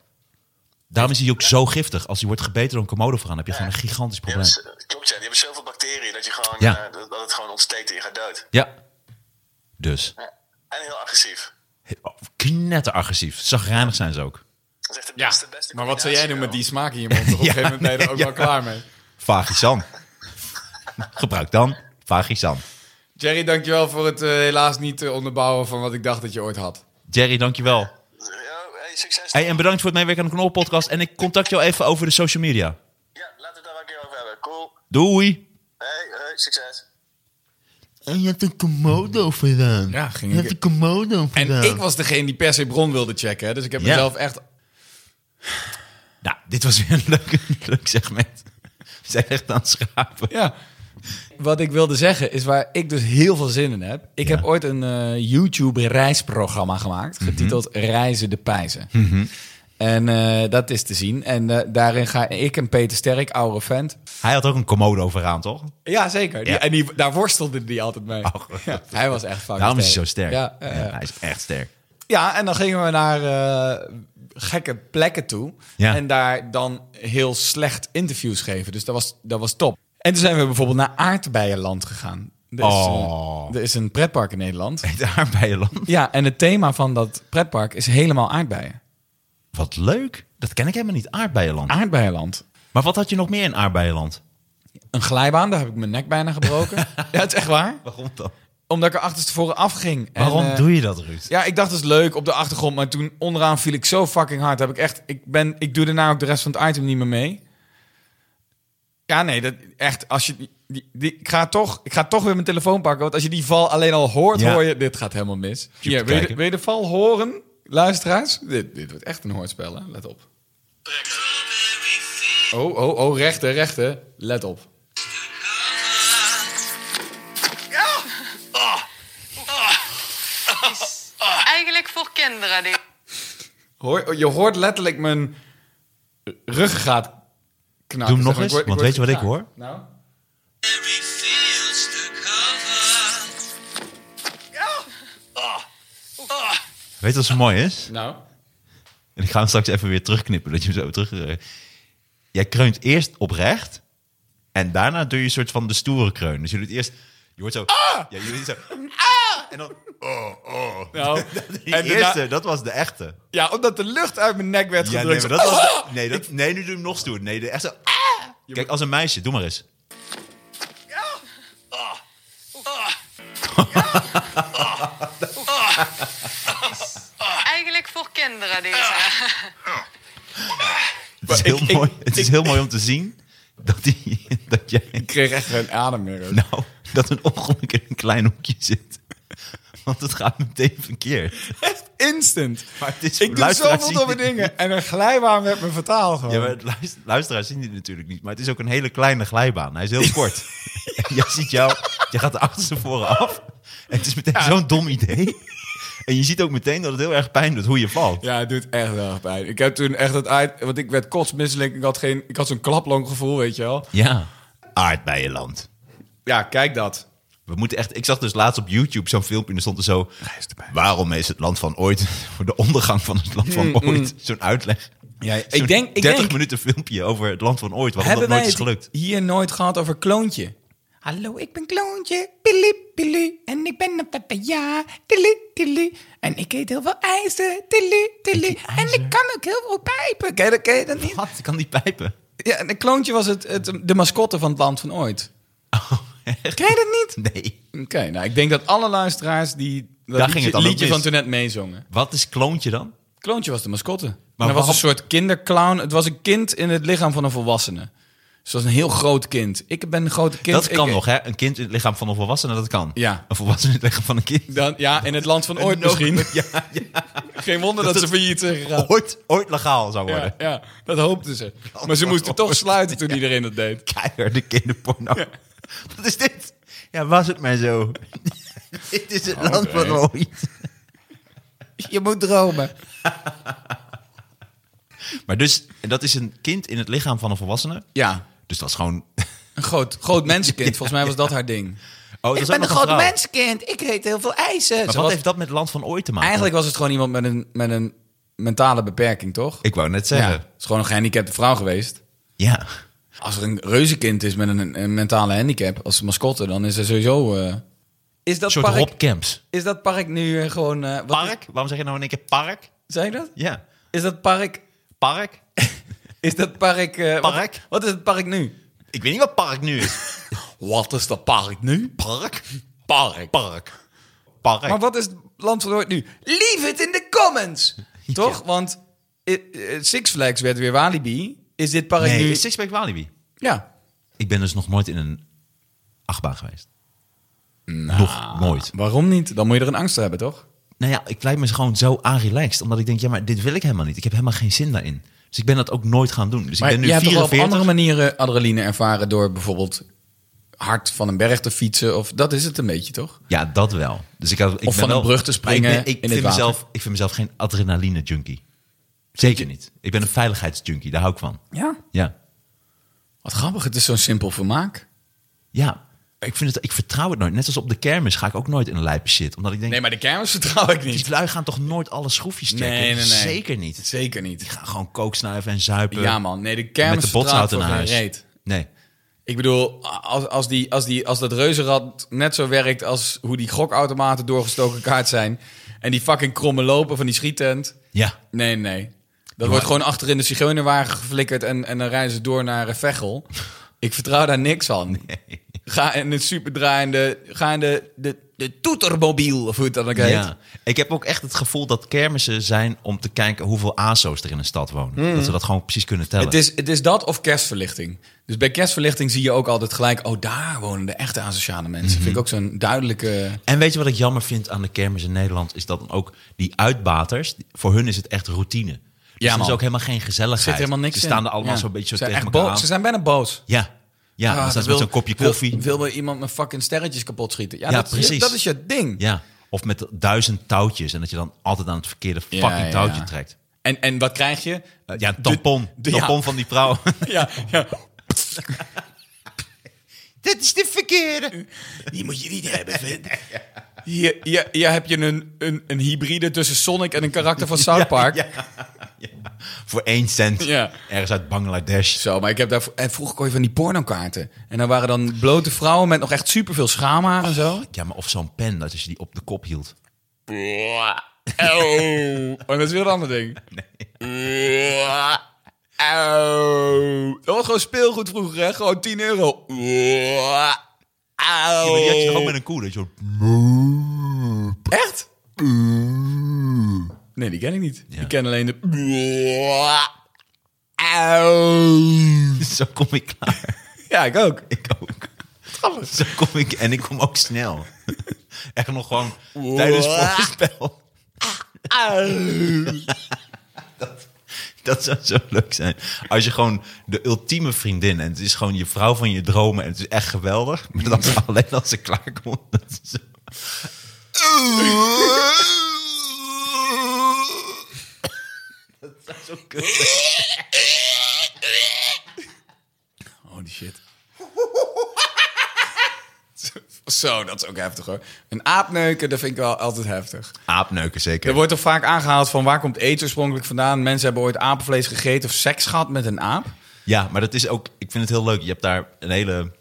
C: Daarom is hij ook zo giftig. Als hij wordt gebeten door een Komodo-varaan... heb je gewoon een gigantisch
F: Die
C: probleem.
F: hebben, z- klopt, ja. dus- Die hebben zoveel bacteriën dat, je gewoon,
C: Ja.
F: eh, dat dat het gewoon ontsteekt en je gaat dood.
C: Ja. Dus. oh,
F: Ja. En heel agressief.
C: Knetteragressief. Zagrijnig zijn ze ook.
F: Dat is echt de
D: Ja,
F: beste, beste
D: maar wat zou jij doen met die
F: combinatie
D: smaak in je mond?
C: (laughs)
D: Op een
C: Ja,
D: gegeven moment ben je er ook
C: ja.
D: wel klaar mee.
C: Vagisan. (laughs) Gebruik dan Vagisan.
D: Jerry, dankjewel voor het eh, helaas niet eh, onderbouwen van wat ik dacht dat je ooit had.
C: Jerry, dankjewel.
F: wel. Yo, hey, succes.
C: Hey, en bedankt voor het meewerken aan de Knol-podcast. En ik contact jou even over de social media.
F: Ja, laten we het daar wel een keer over hebben. Cool.
C: Doei!
F: Hey, hey, succes.
G: En je hebt een Komodo vandaan.
D: Ja, ging
G: je
D: ik-
G: hebt een Komodo
D: En
G: vandaan.
D: ik was degene die per se bron wilde checken. hè, Dus ik heb
C: Ja.
D: mezelf echt...
C: Nou, dit was weer een leuk, een (laughs) leuk segment. We zijn echt aan het schrapen.
D: Ja. Wat ik wilde zeggen is waar ik dus heel veel zin in heb. Ik
C: Ja. Mhm.
D: heb ooit een eh, YouTube reisprogramma gemaakt. Getiteld Reizen de Pijzen. En eh, dat is te zien. En eh, daarin ga ik en Peter Sterk, oude vent...
C: Hij had ook een komodo vooraan, toch?
D: Ja, zeker. Die-
C: Ja. Oh,
D: En die, daar worstelde die altijd mee. Ja, hij was echt fucking
C: Daarom is hij zo sterk.
D: Ja,
C: Ja,
D: eh, ja.
C: hij is echt sterk.
D: Ja, en dan gingen we naar eh, gekke plekken toe.
C: Ja.
D: En daar dan heel slecht interviews geven. Dus dat was, dat was top. En toen zijn we bijvoorbeeld naar Aardbeienland gegaan. Er is,
C: Oh.
D: een, er is een pretpark in Nederland.
C: Daar bij je land.
D: Ja, en het thema van dat pretpark is helemaal aardbeien.
C: Wat leuk. Dat ken ik helemaal niet. Aardbeienland.
D: Ah. Aardbeienland.
C: Maar wat had je nog meer in aardbeienland?
D: Een glijbaan, daar heb ik mijn nek bijna
C: (laughs)
D: gebroken. ja, het is echt waar.
C: Waarom dan?
D: Omdat ik er achterstevoren afging. En,
C: Waarom
D: eh,
C: doe je dat, Ruud?
D: Ja, ik dacht dat is leuk op de achtergrond, maar toen onderaan viel ik zo fucking hard. Heb ik echt, ik ben, ik doe daarna ook de rest van het item niet meer mee. Ja, nee, dat echt. Als je die, die, ik ga toch, ik ga toch weer mijn telefoon pakken, want als je die val alleen al hoort,
C: Ja.
D: hoor je dit gaat helemaal mis.
C: te
D: Hier, wil, je de,
C: kijken.
D: wil je de val horen, luisteraars? Dit, dit wordt echt een hoorspel, hè? Let op. Oh, oh, oh, rechter, rechter, let op.
H: Eigenlijk voor kinderen. Die...
D: Hoor, oh, je hoort letterlijk mijn ruggengraat knakken.
C: Doe hem nog
D: zeg maar. Ik
C: eens,
D: word- ik
C: want
D: word
C: weet je wat ik
D: gekraakt. Nou?
C: Weet je wat zo mooi is?
D: Nou,
C: En ik ga hem straks even weer terugknippen, dat je hem zo terug... eh, Jij kreunt eerst oprecht en daarna doe je een soort van de stoere kreun. Dus je doet eerst... Je hoort zo...
D: Ah!
C: Ja, je doet zo... En dan... Oh, oh.
D: (laughs) nou.
C: Die
D: en Ah! daarna-
C: eerste, (laughs) dat was de echte.
D: ja, omdat de lucht uit mijn nek werd
C: Ja, nee,
D: gedrukt. Ah!
C: maar dat was de- nee, dat, nee, nu doe je hem nog stoer. Nee, de echte... Kijk, als een meisje, doe maar eens.
H: Eigenlijk voor kinderen deze.
C: Het is
D: ik-
C: heel,
D: ik-
C: mooi, het is heel mooi om te zien dat, die, dat jij...
D: (laughs) Ik kreeg echt geen adem meer. ook.
C: Nou, dat een ongeluk in een klein hoekje zit. Want het gaat meteen verkeerd.
D: Echt
C: Nou.
D: instant.
C: Maar het is-
D: ik doe
C: luisteraars
D: zoveel
C: zien
D: domme
C: dit
D: dingen. En een glijbaan werd mijn vertaal gewoon.
C: Ja, maar het luister, luisteraars zien die natuurlijk niet. Maar het is ook een hele kleine glijbaan. Hij is heel
D: (laughs)
C: kort. En jij ziet jou, je gaat de achterste voren af. En het is meteen zo'n dom idee. En je ziet ook meteen dat het heel erg pijn doet hoe je valt.
D: Ja, het doet echt wel erg pijn. Ik heb toen echt het uit... Want ik werd kotsmisselijk. Ik had, geen, ik had zo'n klaplonggevoel, weet je wel.
C: Ja. Aardbeienland.
D: Ja, kijk dat.
C: We moeten echt, ik zag dus laatst op YouTube zo'n filmpje en er stond er zo... Waarom is het land van ooit voor de ondergang van het land van ooit? Zo'n uitleg.
D: Mm, Ja, ik
C: Zo'n
D: denk- ik
C: 30
D: denk-
C: minuten filmpje over het land van ooit, waarom dat nooit is gelukt.
D: hier nooit gehad over kloontje? Hallo, ik ben kloontje. Pili, pili. En ik ben een papaya. Tili, tili. En ik eet heel veel ijzer. Tili, tili. En ik kan ook heel veel pijpen. Ken je dat, ken je dat niet?
C: Wat? Ik kan die pijpen.
D: Ja, en een kloontje was het, het, de mascotte van het land van ooit.
C: Oh, echt?
D: Ken je dat niet?
C: (laughs) Nee.
D: Oké, nou, ik denk dat alle luisteraars die dat
C: Daar ging
D: liedje,
C: het dan ook
D: liedje van
C: mis.
D: toen net meezongen.
C: Wat is kloontje dan?
D: Kloontje was de mascotte. Maar
C: Maar
D: dat was
C: waarom-
D: een soort kinderclown. Het was een kind in het lichaam van een volwassene. Dus het was een heel groot kind. Ik ben een groot kind.
C: dat kan
D: Ik-
C: nog, hè? Een kind in het lichaam van een volwassene, dat kan.
D: Ja.
C: Een volwassene in het lichaam van een kind.
D: Dan, ja, in het land van ooit
C: Een
D: misschien.
C: no- (laughs)
D: (laughs)
C: Ja, (laughs)
D: Geen wonder dat, ze failliet zijn gegaan.
C: ooit, ooit legaal zou worden.
D: Ja, ja, dat hoopten ze. Maar ze moesten toch sluiten toen iedereen dat deed.
C: Keiharde kinderporno. (laughs) Wat is dit? Oh, Ja, was het maar (laughs) zo. dit is het land van ooit. (laughs)
D: Je moet dromen.
C: Maar dus, en dat is een kind in het lichaam van een volwassene.
D: Ja,
C: Dus dat is gewoon... (laughs)
D: een groot, groot mensenkind. Volgens mij was dat haar ding.
C: Oh, dat is ook nog vrouw.
D: mensenkind. Ik eet heel veel ijzer.
C: Maar
D: Ze
C: wat
D: was-
C: heeft dat met land van ooit te maken?
D: Eigenlijk was het gewoon iemand met een, met een mentale beperking, toch?
C: Ik wou net
D: ja,
C: zeggen.
D: het is gewoon een gehandicapte vrouw geweest.
C: Ja.
D: Als er een reuzenkind is met een, een mentale handicap als mascotte, dan is er sowieso... eh, Is
C: Een
D: dat,
C: soort
D: park,
C: Rob Camps.
D: is dat park nu eh, gewoon... eh, wat
C: Park? Waarom zeg je nou in één keer park?
D: is- zei je dat?
C: Ja.
D: Is dat park...
C: Park?
D: Is dat park... eh, wat-
C: Park?
D: Wat, is het park
C: (laughs)
D: nu?
C: Ik weet niet wat park nu is.
D: Wat is dat park nu?
C: Park? Park. Park. Park.
D: Maar wat is het land van ooit nu? Leave it in the
C: (laughs)
D: comments! Toch? Want eh, eh, Six Flags werd weer Walibi. Is dit park
C: nee,
D: nu...
C: is Sixpack Walibi.
D: Ja.
C: Ik ben dus nog nooit in een achtbaan geweest. Nog nooit.
D: Waarom niet? Dan moet je er een angst voor hebben, toch?
C: Nou ja, ik lijk me gewoon zo aanrelaxed. Omdat ik denk, ja, maar dit wil ik helemaal niet. Ik heb helemaal geen zin daarin. Dus ik ben dat ook nooit gaan doen. Dus
D: Maar
C: ik ben nu
D: je hebt toch wel op
C: 44.
D: andere manieren adrenaline ervaren door bijvoorbeeld hard van een berg te fietsen of dat is het een beetje toch?
C: Ja, dat wel. Dus ik, had, ik ben
D: van een
C: wel-
D: brug te springen
C: Maar Ik, ben-
D: in
C: ik,
D: het
C: vind
D: water.
C: mezelf, ik vind mezelf geen adrenaline junkie. Zeker niet. Ik ben een veiligheidsjunkie. Daar hou ik van.
D: Ja.
C: Ja.
D: Wat grappig, het is zo'n simpel vermaak.
C: Ja. Ik, vind het, ik vertrouw het nooit. Net als op de kermis ga ik ook nooit in een lijpe shit. Omdat ik denk,
D: Nee, maar de kermis vertrouw ik
C: die (laughs)
D: niet.
C: lui gaan toch nooit alle schroefjes trekken? Zeker niet.
D: Zeker
C: Die
D: niet.
C: gaan gewoon kook snuiven en zuipen.
D: Ja man, nee, de
C: Met
D: kermis
C: de
D: vertrouw ik
C: botsauto
D: voor
C: naar
D: geen
C: huis.
D: reet.
C: Nee.
D: Ik bedoel, als, als, die, als, die, als dat reuzenrad net zo werkt als hoe die gokautomaten doorgestoken kaart zijn en die fucking kromme lopen van die schiettent.
C: Ja.
D: Nee, nee. Dat wordt gewoon achterin de zigeunerwagen geflikkerd en, en dan rijden ze door naar eh, Veghel. Ik vertrouw daar niks van. Ga in het superdraaiende, ga in de, de, de toetermobiel, of hoe het dan ook heet.
C: Ja. Ik heb ook echt het gevoel dat kermissen zijn om te kijken hoeveel ASO's er in een stad wonen. Dat ze dat gewoon precies kunnen tellen.
D: Hmm. Het, is, het is dat of kerstverlichting. Dus bij kerstverlichting zie je ook altijd gelijk, oh daar wonen de echte asociale mensen. Vind ik ook zo'n duidelijke...
C: En weet je wat ik jammer vind aan de kermis in Nederland? Is dat dan ook die uitbaters, die- voor hun is het echt routine. Dus
D: Ja,
C: er is
D: man.
C: ook helemaal geen
D: Er
C: gezelligheid.
D: zit helemaal niks
C: Ze
D: in.
C: staan er allemaal
D: Ja.
C: zo'n beetje
D: ze
C: zo
D: zijn
C: tegen
D: echt
C: elkaar aan.
D: boos. Ze zijn bijna boos.
C: Ja, ja dan
D: Ah,
C: staan ze
D: wil-
C: met zo'n kopje
D: wil-
C: koffie.
D: Wil, wel iemand met fucking sterretjes kapot schieten? Ja,
C: Ja,
D: dat, precies.
C: precies.
D: Dat is je ding.
C: Ja, of met duizend touwtjes. En dat je dan altijd aan het verkeerde fucking
D: Ja, ja,
C: touwtje
D: ja.
C: trekt.
D: En, en wat krijg je?
C: Eh, ja, tampon.
D: de- ja.
C: tampon van die vrouw.
D: (laughs) Ja, ja.
C: Dit is de verkeerde.
D: Die moet je niet hebben, vind Hier, hier, hier heb je een, een, een hybride tussen Sonic en een karakter van South
C: (laughs)
D: Park.
C: Ja, ja. (laughs) Voor één cent.
D: Ja.
C: Ergens uit Bangladesh.
D: Zo, maar ik heb daar... En vroeger kon je van die pornokaarten. En dan waren dan blote vrouwen met nog echt superveel schaamhaar en zo.
C: Ja, maar of zo'n pen, dat als je die op de kop hield.
D: (laughs) Oh, dat is weer een ander
C: (laughs)
D: ding. Auw. Dat was gewoon speelgoed vroeger, hè? Gewoon 10 euro.
C: Ja, maar die had je ook met een koe. Dat je zo- (laughs)
D: Echt? Nee, die ken ik niet. Ik ken alleen de...
C: Zo kom ik klaar.
D: Ja, ik ook.
C: Ik ook. Zo kom ik en ik kom ook snel. (laughs) Echt nog gewoon tijdens voorspel.
D: Ah,
C: Dat, dat zou zo leuk zijn. Als je gewoon de ultieme vriendin en het is gewoon je vrouw van je dromen en het is echt geweldig. Maar dan
D: Mm.
C: alleen als ze klaarkomt. Dat is zo.
D: Holy shit. (laughs) Zo, dat is ook heftig hoor. Een aapneuken, dat vind ik wel altijd heftig.
C: Aapneuken
D: Er
C: zeker.
D: wordt toch vaak aangehaald van waar komt eten oorspronkelijk vandaan? Mensen hebben ooit apenvlees gegeten of seks gehad met een aap.
C: Ja, maar dat is ook, ik vind het heel leuk. Je hebt daar een hele...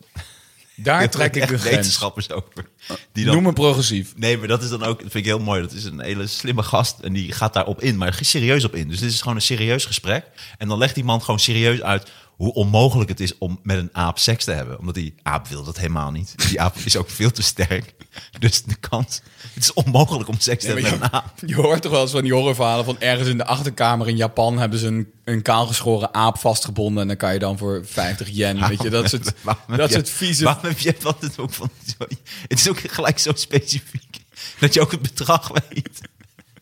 D: Daar trek ik de
C: echt (laughs)
D: grens.
C: wetenschappers over. Die dan
D: Noem me progressief.
C: Nee, maar dat is dan ook, dat vind ik heel mooi. Dat is een hele slimme gast en die gaat daarop in, maar serieus op in. Dus dit is gewoon een serieus gesprek. En dan legt die man gewoon serieus uit hoe onmogelijk het is om met een aap seks te hebben. Omdat die aap wil dat helemaal niet. Die aap is ook veel te sterk. (laughs) Dus de kans... Het is onmogelijk om seks te hebben met een
D: je,
C: aap.
D: je hoort toch wel eens van die horrorverhalen van ergens in de achterkamer in Japan hebben ze een, een kaalgeschoren aap vastgebonden en dan kan je dan voor 50 yen, weet je, dat soort,
C: (laughs) Waarom heb
D: dat
C: je-
D: soort vieze...
C: Waarom heb je wat het ook van... sorry. Het is ook gelijk zo specifiek dat je ook het bedrag weet.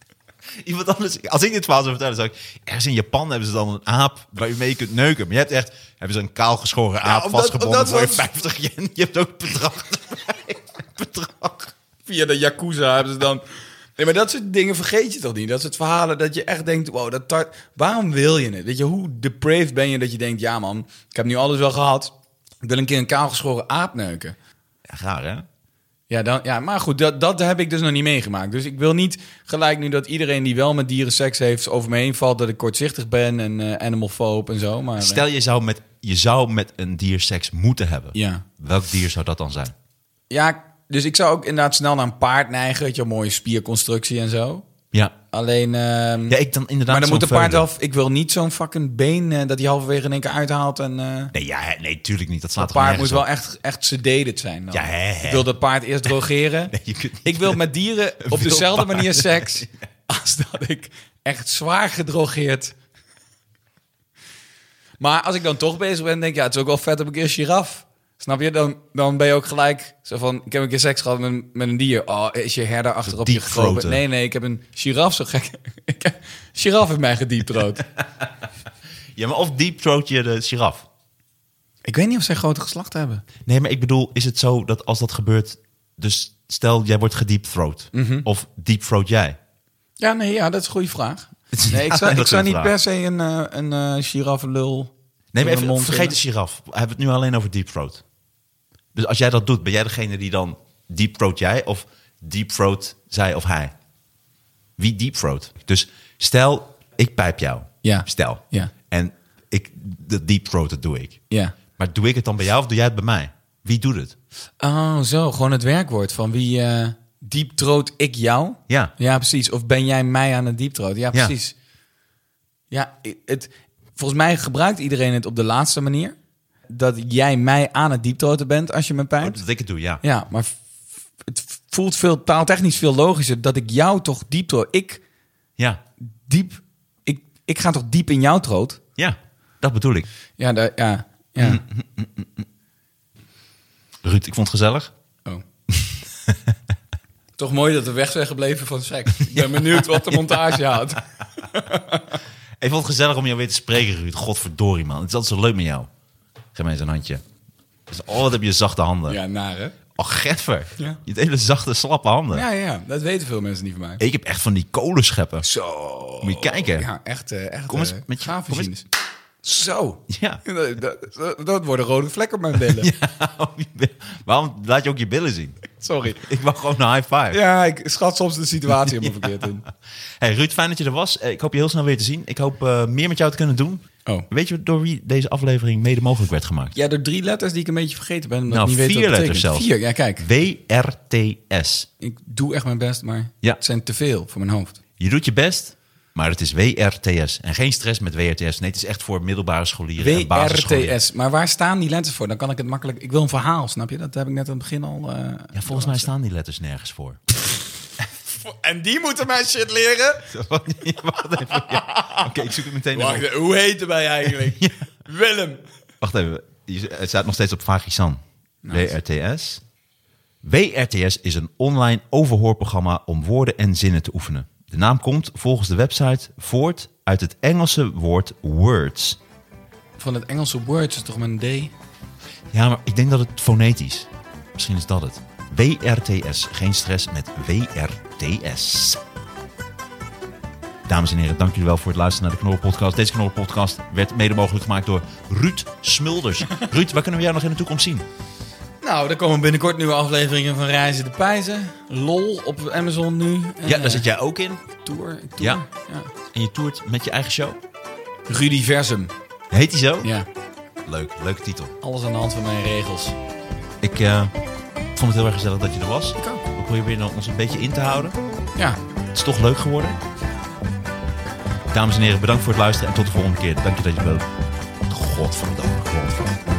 C: (laughs) Iemand anders, als ik dit verhaal zou vertellen, zou ik... Ergens in Japan hebben ze dan een aap waar je mee kunt neuken. Maar je hebt echt... Hebben ze een kaalgeschoren aap
D: omdat-
C: vastgebonden
D: omdat
C: voor je
D: we-
C: 50 yen. Je hebt ook het bedrag (laughs) erbij. Het bedrag.
D: Via de Yakuza hebben ze dan... Nee, maar dat soort dingen vergeet je toch niet? Dat soort verhalen dat je echt denkt, wow, dat tar- waarom wil je het? Weet je, hoe depraved ben je dat je denkt, ja man, ik heb nu alles wel gehad, ik wil een keer een kaalgeschoren aap neuken.
C: Ja, raar, hè?
D: Ja, dan, ja, maar goed, dat, dat heb ik dus nog niet meegemaakt. Dus ik wil niet gelijk nu dat iedereen die wel met dieren seks heeft over me heen valt... dat ik kortzichtig ben en eh animalfoob en zo. Maar, eh,
C: Stel, je zou, met, je zou met een dier seks moeten hebben.
D: Ja.
C: Welk dier zou dat dan zijn?
D: Ja, dus ik zou ook inderdaad snel naar een paard neigen. Weet je, een mooie spierconstructie en zo.
C: Ja.
D: Alleen... ehm,
C: Ja, ik dan inderdaad
D: maar dan
C: zo'n
D: moet een paard
C: veulen.
D: af. Ik wil niet zo'n fucking been eh, dat hij halverwege in één keer uithaalt. En eh,
C: Nee, ja, nee, tuurlijk niet. Dat slaat
D: dat
C: toch
D: paard moet
C: nergens
D: wel echt, echt sedated zijn. Dan.
C: Ja, hè, hè.
D: Ik wil dat paard eerst
C: (laughs)
D: drogeren.
C: Nee, je kunt niet
D: ik wil
C: met-
D: met dieren
C: (laughs)
D: op
C: wild
D: dezelfde
C: paard. (laughs)
D: manier seks als dat ik echt zwaar gedrogeerd. Maar als ik dan toch bezig ben, denk ik, ja, het is ook wel vet op een keer een giraf. Snap je? Dan, dan ben je ook gelijk zo van, ik heb een keer seks gehad met, een- met een dier. Oh, is je herder achterop je
C: Diepvroten.
D: gekropen? Nee, nee, ik heb een giraf zo gek. (laughs) Ik heb- giraf heeft mij gedieptrood.
C: Ja, maar of deep throat je de giraf?
D: (laughs) ik weet niet of zij grote geslacht hebben.
C: Nee, maar ik bedoel, is het zo dat als dat gebeurt... Dus stel, jij wordt gedeep throat.
D: Mhm.
C: Of deep throat jij.
D: Ja, nee, ja, dat is een goede
C: (laughs)
D: vraag.
C: is
D: Nee, ik
C: een
D: zou,
C: hele
D: ik
C: goede
D: zou niet
C: vraag.
D: per se een, eh een eh giraflul...
C: Nee, maar
D: door de
C: even,
D: mond
C: vergeet de
D: in-
C: giraf. We hebben het nu alleen over deep throat. Dus als jij dat doet, ben jij degene die dan deep throat jij... of deep throat zij of hij? Wie deep throat? Dus stel, ik pijp jou.
D: Ja.
C: Stel.
D: Ja.
C: En ik, de deep throat, dat doe ik.
D: Ja.
C: Maar doe ik het dan bij jou of doe jij het bij mij? Wie doet het?
D: Oh, zo. Gewoon het werkwoord van wie eh dieptroot ik jou?
C: Ja.
D: Ja, precies. Of ben jij mij aan het dieptroot? Ja,
C: Ja.
D: precies. Ja, i- het, volgens mij gebruikt iedereen het op de laatste manier. Dat jij mij aan het dieptroten bent als je me pijpt.
C: Dat ik het doe, ja.
D: Ja, maar f- het voelt veel, taaltechnisch veel logischer dat ik jou toch dieptroot. Ik
C: Ja.
D: diep, ik, ik ga toch diep in jou troot?
C: Ja, dat bedoel ik.
D: Ja, daar- ja, ja.
C: Ruud, ik vond het gezellig.
D: Oh. (laughs) Toch mooi dat we weg zijn gebleven van seks. Ik ben benieuwd wat de montage houdt.
C: Ik vond het gezellig om jou weer te spreken, Ruud. Godverdorie, man. Het is altijd zo leuk met jou. Geef mij eens een handje. Dus, oh, wat heb je zachte handen.
D: (laughs) Ja, naar hè?
C: Oh, getver.
D: Ja.
C: Je hebt hele zachte, slappe handen.
D: Ja, ja, dat weten veel mensen niet van mij.
C: Ik heb echt van die kolenscheppen.
D: Zo.
C: Moet je kijken.
D: Oh,
C: (laughs)
D: Ja, echt. eh, echt
C: Kom eens
D: eh,
C: met je-
D: graafmachines. Zo.
C: Ja.
D: (laughs) Dat, dat, dat worden rode vlekken op mijn (laughs) billen.
C: Op je billen. Waarom laat je ook je billen zien?
D: Sorry.
C: Ik wou gewoon een high five.
D: Ja, ik schat soms de situatie (laughs) helemaal verkeerd in.
C: Hey, Ruud, fijn dat je er was. Eh, Ik hoop je heel snel weer te zien. Ik hoop eh, meer met jou te kunnen doen.
D: Oh.
C: Weet je door wie deze aflevering mede mogelijk werd gemaakt?
D: Ja, door drie letters die ik een beetje vergeten ben. Omdat
C: Nou,
D: ik niet
C: vier
D: weet wat het
C: letters
D: betekent.
C: zelfs.
D: Vier, ja, kijk.
C: WRTS.
D: Ik doe echt mijn best, maar
C: Ja.
D: het zijn te veel voor mijn hoofd.
C: Je doet je best, maar het is WRTS. En geen stress met WRTS. Nee, het is echt voor middelbare scholieren en basisscholieren.
D: WRTS. Maar waar staan die letters voor? Dan kan ik het makkelijk... Ik wil een verhaal, snap je? Dat heb ik net aan het begin al... eh,
C: Ja, volgens mij staan die letters nergens voor.
D: En die moeten mij shit leren?
C: Wacht even. ja. Oké, ik zoek het meteen
D: Wacht,
C: even op.
D: hoe heten wij (laughs) eigenlijk? Willem.
C: Wacht even. Je- Het staat nog steeds op Vagisan. WRTS. WRTS is een online overhoorprogramma om woorden en zinnen te oefenen. De naam komt volgens de website voort uit het Engelse woord words.
D: Van het Engelse words is toch met een D?
C: Ja, maar ik denk dat het fonetisch. Misschien is dat het. WRTS. Geen stress met WRTS. Dames en heren, dank jullie wel voor het luisteren naar de Knorren Podcast. Deze Knorren Podcast werd mede mogelijk gemaakt door Ruud (laughs) Smulders. Ruud, waar kunnen we jou nog in de toekomst zien?
D: Nou, er komen binnenkort nieuwe afleveringen van Reizen de Pijzen. LOL op Amazon nu. En,
C: Ja, daar
D: eh,
C: zit jij ook in.
D: Tour. ik tour.
C: Ja.
D: Ja.
C: En je toert met je eigen show.
D: Rudiversum.
C: Heet die zo?
D: Ja,
C: Leuk, leuke titel.
D: alles aan de hand van mijn regels.
C: Ik eh, vond het heel erg gezellig dat je er was.
D: Ik ook.
C: We proberen ons een beetje in te houden.
D: Ja,
C: Het is toch leuk geworden. Dames en heren, bedankt voor het luisteren en tot de volgende keer. Dank je dat je bent. godverdomme, godverdomme.